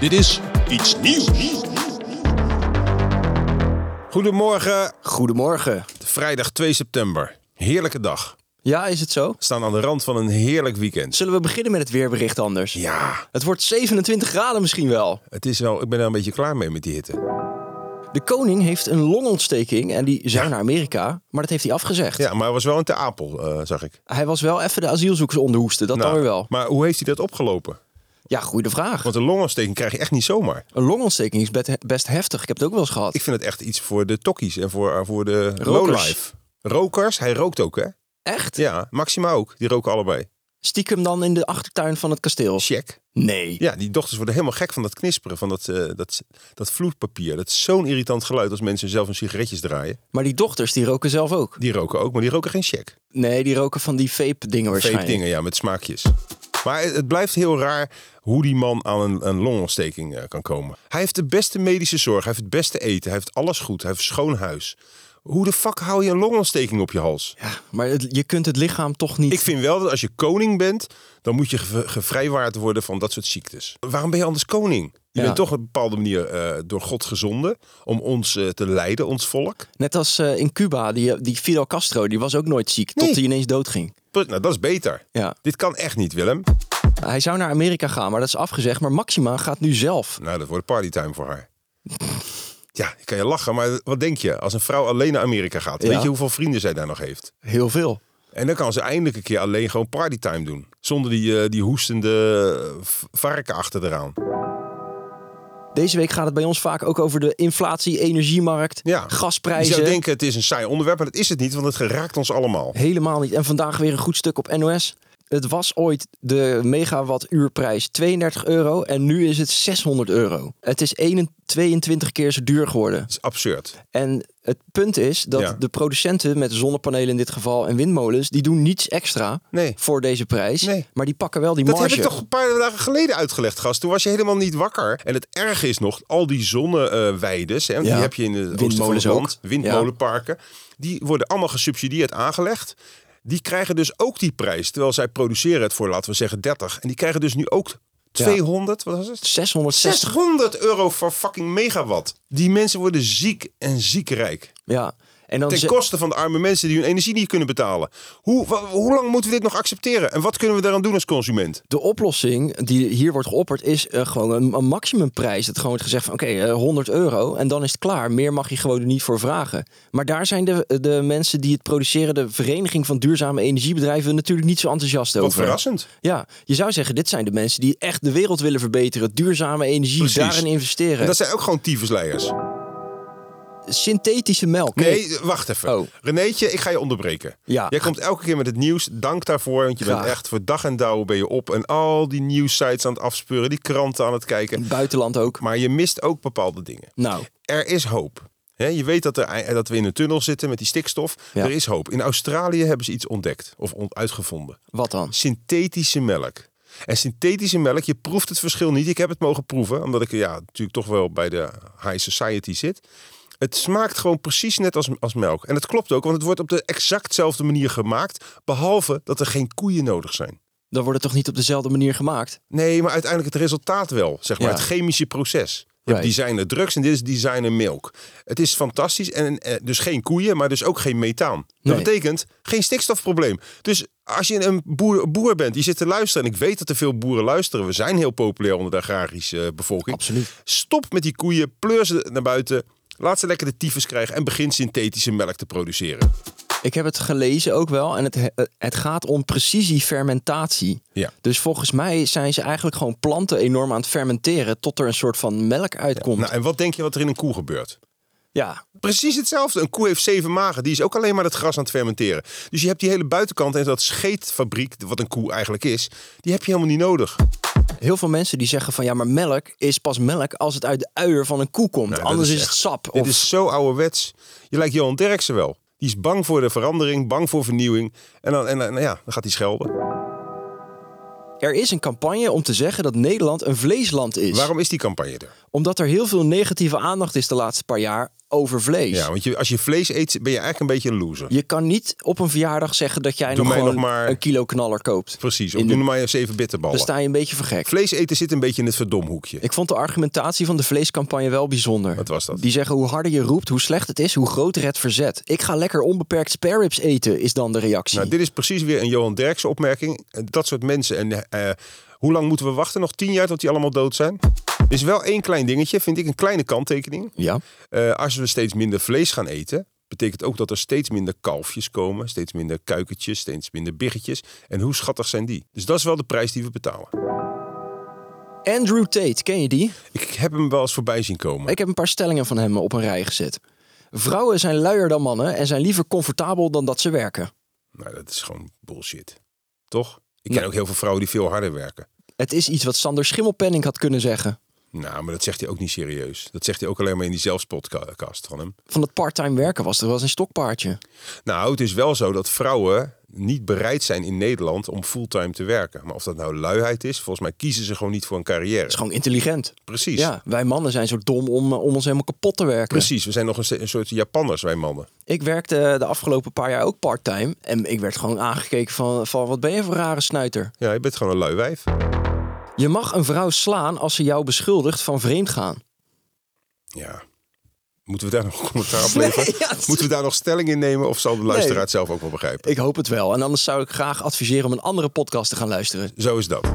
Dit is iets nieuws. Goedemorgen, Goedemorgen. vrijdag 2 september. Heerlijke dag. Ja, is het zo? We staan aan de rand van een heerlijk weekend. Zullen we beginnen met het weerbericht anders? Ja, Het wordt 27 graden misschien wel. het is wel, ik ben er een beetje klaar mee met die hitte. De koning heeft een longontsteking en die zou naar Amerika, maar dat heeft hij afgezegd. Ja, maar hij was wel in Ter Apel, eh, zag ik. Nou, Hij was wel even de asielzoekers onderhoesten, dat dan weer wel. Maar hoe heeft hij dat opgelopen? Ja, goede vraag. Want een longontsteking krijg je echt niet zomaar. Een longontsteking is bet- best heftig. Ik heb het ook wel eens gehad. Ik vind het echt iets voor de tokkies en voor, eh, voor de Rokers. lowlife. Rokers, hij rookt ook, hè? Echt? Ja, Maxima ook. Die roken allebei. Stiekem dan in de achtertuin van het kasteel? Check. Nee. Ja, die dochters worden helemaal gek van dat knisperen, van dat, eh, dat, dat vloedpapier. Dat is zo'n irritant geluid als mensen zelf hun sigaretjes draaien. Maar die dochters, die roken zelf ook. Die roken ook, maar die roken geen check. Nee, die roken van die vape-dingen waarschijnlijk. Vape dingen, ja, met smaakjes. Maar het, het blijft heel raar hoe die man aan een, een longontsteking eh, kan komen. Hij heeft de beste medische zorg, hij heeft het beste eten, hij heeft alles goed, hij heeft een schoon huis. Hoe de fuck hou je een longontsteking op je hals? Ja, maar het- je kunt het lichaam toch niet... Ik vind wel dat als je koning bent, dan moet je ge- gevrijwaard worden van dat soort ziektes. Waarom ben je anders koning? Je Ja. bent toch op een bepaalde manier eh, door God gezonden om ons eh, te leiden, ons volk. Net als eh, in Cuba, die, die Fidel Castro, die was ook nooit ziek, Nee. tot hij ineens doodging. Put, Nou, dat is beter. Ja. Dit kan echt niet, Willem. Hij zou naar Amerika gaan, maar dat is afgezegd. Maar Maxima gaat nu zelf. Nou, dat wordt partytime voor haar. Ja, ik kan je lachen, maar wat denk je? Als een vrouw alleen naar Amerika gaat, Ja. weet je hoeveel vrienden zij daar nog heeft? Heel veel. En dan kan ze eindelijk een keer alleen gewoon partytime doen. Zonder die, eh, die hoestende eh, v- varken achter eraan. Deze week gaat het bij ons vaak ook over de inflatie, energiemarkt, Ja. Je gasprijzen. zou denken, het is een saai onderwerp, maar dat is het niet, want het geraakt ons allemaal. Helemaal niet. En vandaag weer een goed stuk op NOS. Het was ooit de megawattuurprijs 32 euro en nu is het 600 euro. Het is 21 22 keer zo duur geworden. Het is absurd. En het punt is dat Ja. de producenten met zonnepanelen in dit geval en windmolens, die doen niets extra Nee. voor deze prijs. Nee. Maar die pakken wel die Dat marge. heb ik toch een paar dagen geleden uitgelegd, gast. Toen was je helemaal niet wakker. En het erge is nog, al die zonneweiden, hè, die Ja. heb je in de oosten van het Windmolens land, ook. windmolenparken, die worden allemaal gesubsidieerd aangelegd. Die krijgen dus ook die prijs, terwijl zij produceren het voor, laten we zeggen, 30. En die krijgen dus nu ook 200, wat was het? 660 600 euro voor fucking megawatt. Die mensen worden ziek en ziekrijk. Ja. En dan Ten ze- koste van de arme mensen die hun energie niet kunnen betalen. Hoe, wa- hoe lang moeten we dit nog accepteren? En wat kunnen we daaraan doen als consument? de oplossing die hier wordt geopperd is eh, gewoon een, een maximumprijs. Dat gewoon wordt gezegd van oké, eh, 100 euro en dan is het klaar. Meer mag je gewoon er niet voor vragen. Maar daar zijn de, de mensen die het produceren, de Vereniging van Duurzame Energiebedrijven, natuurlijk niet zo enthousiast Wat over. verrassend. Ja, je zou zeggen, dit zijn de mensen die echt de wereld willen verbeteren. Duurzame energie, Precies. daarin En investeren. dat zijn ook gewoon tyfusleiers. Synthetische melk. Nee, wacht even. Oh. Renéetje, ik ga je onderbreken. Ja. Jij komt elke keer met het nieuws. Dank daarvoor, want je bent Graag. echt voor dag en dauw ben je op. En al die nieuwsites aan het afspeuren, die kranten aan het kijken. Buitenland ook. Maar je mist ook bepaalde dingen. Nou, Er is hoop. Hè, je weet dat, er, dat we in een tunnel zitten met die stikstof. Ja. Er is hoop. In Australië hebben ze iets ontdekt of on- uitgevonden. wat dan? synthetische melk. En synthetische melk, je proeft het verschil niet. Ik heb het mogen proeven, omdat ik ja, natuurlijk toch wel bij de high society zit. Het smaakt gewoon precies net als, als melk. En het klopt ook, want het wordt op de exactzelfde manier gemaakt. Behalve dat er geen koeien nodig zijn. Dan wordt het toch niet op dezelfde manier gemaakt? Nee, maar uiteindelijk het resultaat wel. Zeg maar Ja. het chemische proces. hebt designer drugs en dit is designer milk. Het is fantastisch. En eh, dus geen koeien, maar dus ook geen methaan. Dat Nee. betekent geen stikstofprobleem. Dus als je een boer, boer bent, die zit te luisteren... en ik weet dat er veel boeren luisteren. We zijn heel populair onder de agrarische eh, bevolking. Absoluut. Stop met die koeien, pleur ze naar buiten... laat ze lekker de tyfus krijgen... en begin synthetische melk te produceren. Ik heb het gelezen ook wel. En het, het gaat om precisiefermentatie. Ja. Dus volgens mij zijn ze eigenlijk gewoon planten enorm aan het fermenteren. Tot er een soort van melk uitkomt. Nou, en wat denk je wat er in een koe gebeurt? ja. Precies hetzelfde. Een koe heeft zeven magen. Die is ook alleen maar het gras aan het fermenteren. Dus je hebt die hele buitenkant en dat scheetfabriek, wat een koe eigenlijk is, die heb je helemaal niet nodig. Heel veel mensen die zeggen van ja, maar melk is pas melk als het uit de uier van een koe komt. Nou, dat Anders is, is het echt- sap. Dit Of, is zo ouderwets. Je lijkt Johan Derksen wel. Die is bang voor de verandering, bang voor vernieuwing. En dan, en, dan- nou ja, dan gaat hij schelden. Er is een campagne om te zeggen dat Nederland een vleesland is. Waarom is die campagne er? Omdat er heel veel negatieve aandacht is de laatste paar jaar over vlees. Ja, want je, als je vlees eet, ben je eigenlijk een beetje een loser. Je kan niet op een verjaardag zeggen dat jij Doe nog mij gewoon nog maar- een kilo knaller koopt. Precies. Of In doe de- maar eens even Dan bitterballen. sta je een beetje vergek. Vlees eten zit een beetje in het verdomhoekje. Ik vond de argumentatie van de vleescampagne wel bijzonder. Wat was dat? Die zeggen hoe harder je roept, hoe slecht het is, hoe groter het verzet. Ik ga lekker onbeperkt spare ribs eten, is dan de reactie. Nou, dit is precies weer een Johan Derksen opmerking. Dat soort mensen. En eh, hoe lang moeten we wachten? Nog tien jaar tot die allemaal dood zijn? Er is wel één klein dingetje, vind ik, een kleine kanttekening. Ja, Eh, als we steeds minder vlees gaan eten, betekent ook dat er steeds minder kalfjes komen. Steeds minder kuikentjes, steeds minder biggetjes. En hoe schattig zijn die? Dus dat is wel de prijs die we betalen. Andrew Tate, ken je die? Ik heb hem wel eens voorbij zien komen. Ik heb een paar stellingen van hem op een rij gezet. Vrouwen zijn luier dan mannen en zijn liever comfortabel dan dat ze werken. Nou, dat is gewoon bullshit. Toch? Ik ken Nou. ook heel veel vrouwen die veel harder werken. Het is iets wat Sander Schimmelpenning had kunnen zeggen. Nou, maar dat zegt hij ook niet serieus. Dat zegt hij ook alleen maar in die zelfspodcast van hem. Van het parttime werken was er wel eens een stokpaardje. Nou, het is wel zo dat vrouwen niet bereid zijn in Nederland om fulltime te werken. Maar of dat nou luiheid is, volgens mij kiezen ze gewoon niet voor een Het is carrière. gewoon intelligent. Precies. Ja, wij mannen zijn zo dom om, eh, om ons helemaal kapot te werken. Precies, we zijn nog een, se- een soort Japanners, wij mannen. Ik werkte de afgelopen paar jaar ook parttime En ik werd gewoon aangekeken van, van wat ben je voor een rare snuiter. Ja, je bent gewoon een lui wijf. Je mag een vrouw slaan als ze jou beschuldigt van vreemdgaan. Ja. Moeten we daar nog een commentaar op leveren? Nee, ja, het- Moeten we daar nog stelling in nemen? Of zal de luisteraar het zelf ook wel begrijpen? Ik hoop het wel. En anders zou ik graag adviseren om een andere podcast te gaan luisteren. Zo is dat.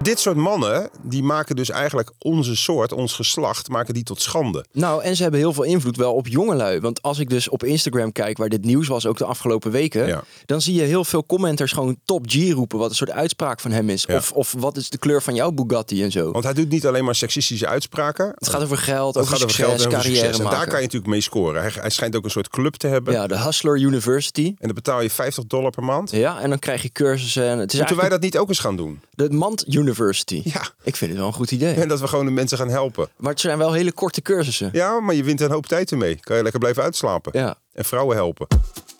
Dit soort mannen, die maken dus eigenlijk onze soort, ons geslacht, maken die tot schande. Nou, en ze hebben heel veel invloed wel op jongelui. Want als ik dus op Instagram kijk, waar dit nieuws was ook de afgelopen weken... Ja. dan zie je heel veel commenters gewoon top G roepen... wat een soort uitspraak van hem is. Ja. Of, of wat is de kleur van jouw Bugatti en zo. Want hij doet niet alleen maar seksistische uitspraken. het gaat over geld, Het over gaat over succes, geld en over carrière succes. En maken. daar kan je natuurlijk mee scoren. Hij, hij schijnt ook een soort club te hebben. Ja, de Hustler University. En dan betaal je 50 dollar per maand. Ja, en dan krijg je cursussen. En het Moeten is wij eigenlijk dat niet ook eens gaan doen? de Mand University. Ja. Ik vind het wel een goed idee. En dat we gewoon de mensen gaan helpen. Maar het zijn wel hele korte cursussen. Ja, maar je wint een hoop tijd ermee. Kan je lekker blijven uitslapen. Ja. En vrouwen helpen.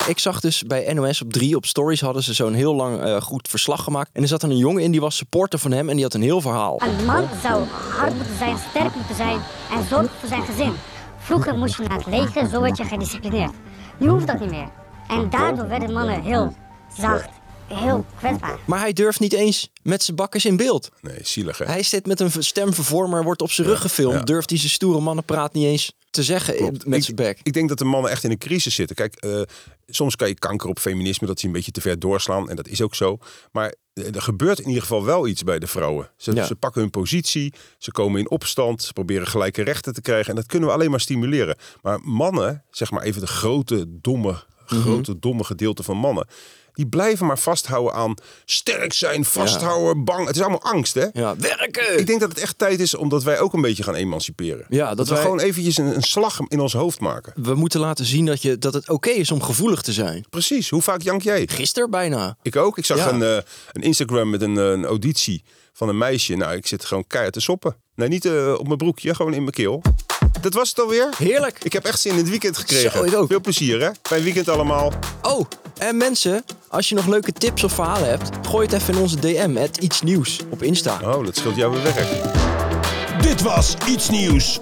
Ik zag dus bij NOS op 3 op Stories hadden ze zo'n heel lang eh, goed verslag gemaakt. En er zat dan een jongen in die was supporter van hem en die had een heel verhaal. Een man zou hard moeten zijn, sterk moeten zijn en zorgen voor zijn gezin. Vroeger moest je naar het leger, zo werd je gedisciplineerd. Nu hoeft dat niet meer. En daardoor werden mannen heel zacht, heel kwetsbaar. Maar hij durft niet eens met zijn bakkers in beeld. Nee, zielig hè? Hij zit met een ver- stemvervormer, wordt op zijn rug gefilmd. ja. Durft hij zijn stoere mannenpraat niet eens te zeggen eh, met zijn bek. Ik denk dat de mannen echt in een crisis zitten. Kijk, eh, soms kan je kanker op feminisme, dat ze een beetje te ver doorslaan. En dat is ook zo. Maar eh, er gebeurt in ieder geval wel iets bij de vrouwen. Ze, Ja. ze pakken hun positie, ze komen in opstand, ze proberen gelijke rechten te krijgen. En dat kunnen we alleen maar stimuleren. Maar mannen, zeg maar even de grote, domme, Mhm. grote, domme gedeelte van mannen. Die blijven maar vasthouden aan sterk zijn, vasthouden, bang. Het is allemaal angst, hè? Ja, werken! Ik denk dat het echt tijd is omdat wij ook een beetje gaan emanciperen. Eh. Ja, dat we wij- gewoon eventjes een, een slag in ons hoofd maken. We moeten laten zien dat, je, dat het oké is om gevoelig te zijn. Precies. Hoe vaak jank jij? Gisteren bijna. Ik ook. Ik zag Ja. een, eh, een Instagram met een, eh, een auditie van een meisje. Nou, ik zit gewoon keihard te soppen. Nee, niet eh, op mijn broekje, gewoon in mijn keel. Dat was het alweer. Heerlijk! Ik heb echt zin in het weekend gekregen. Zo, ik ook. Veel plezier, hè? Fijn weekend allemaal. Oh, en mensen, als je nog leuke tips of verhalen hebt, gooi het even in onze DM, het iets nieuws op Insta. Oh, dat scheelt jouw werk. Dit was Iets Nieuws.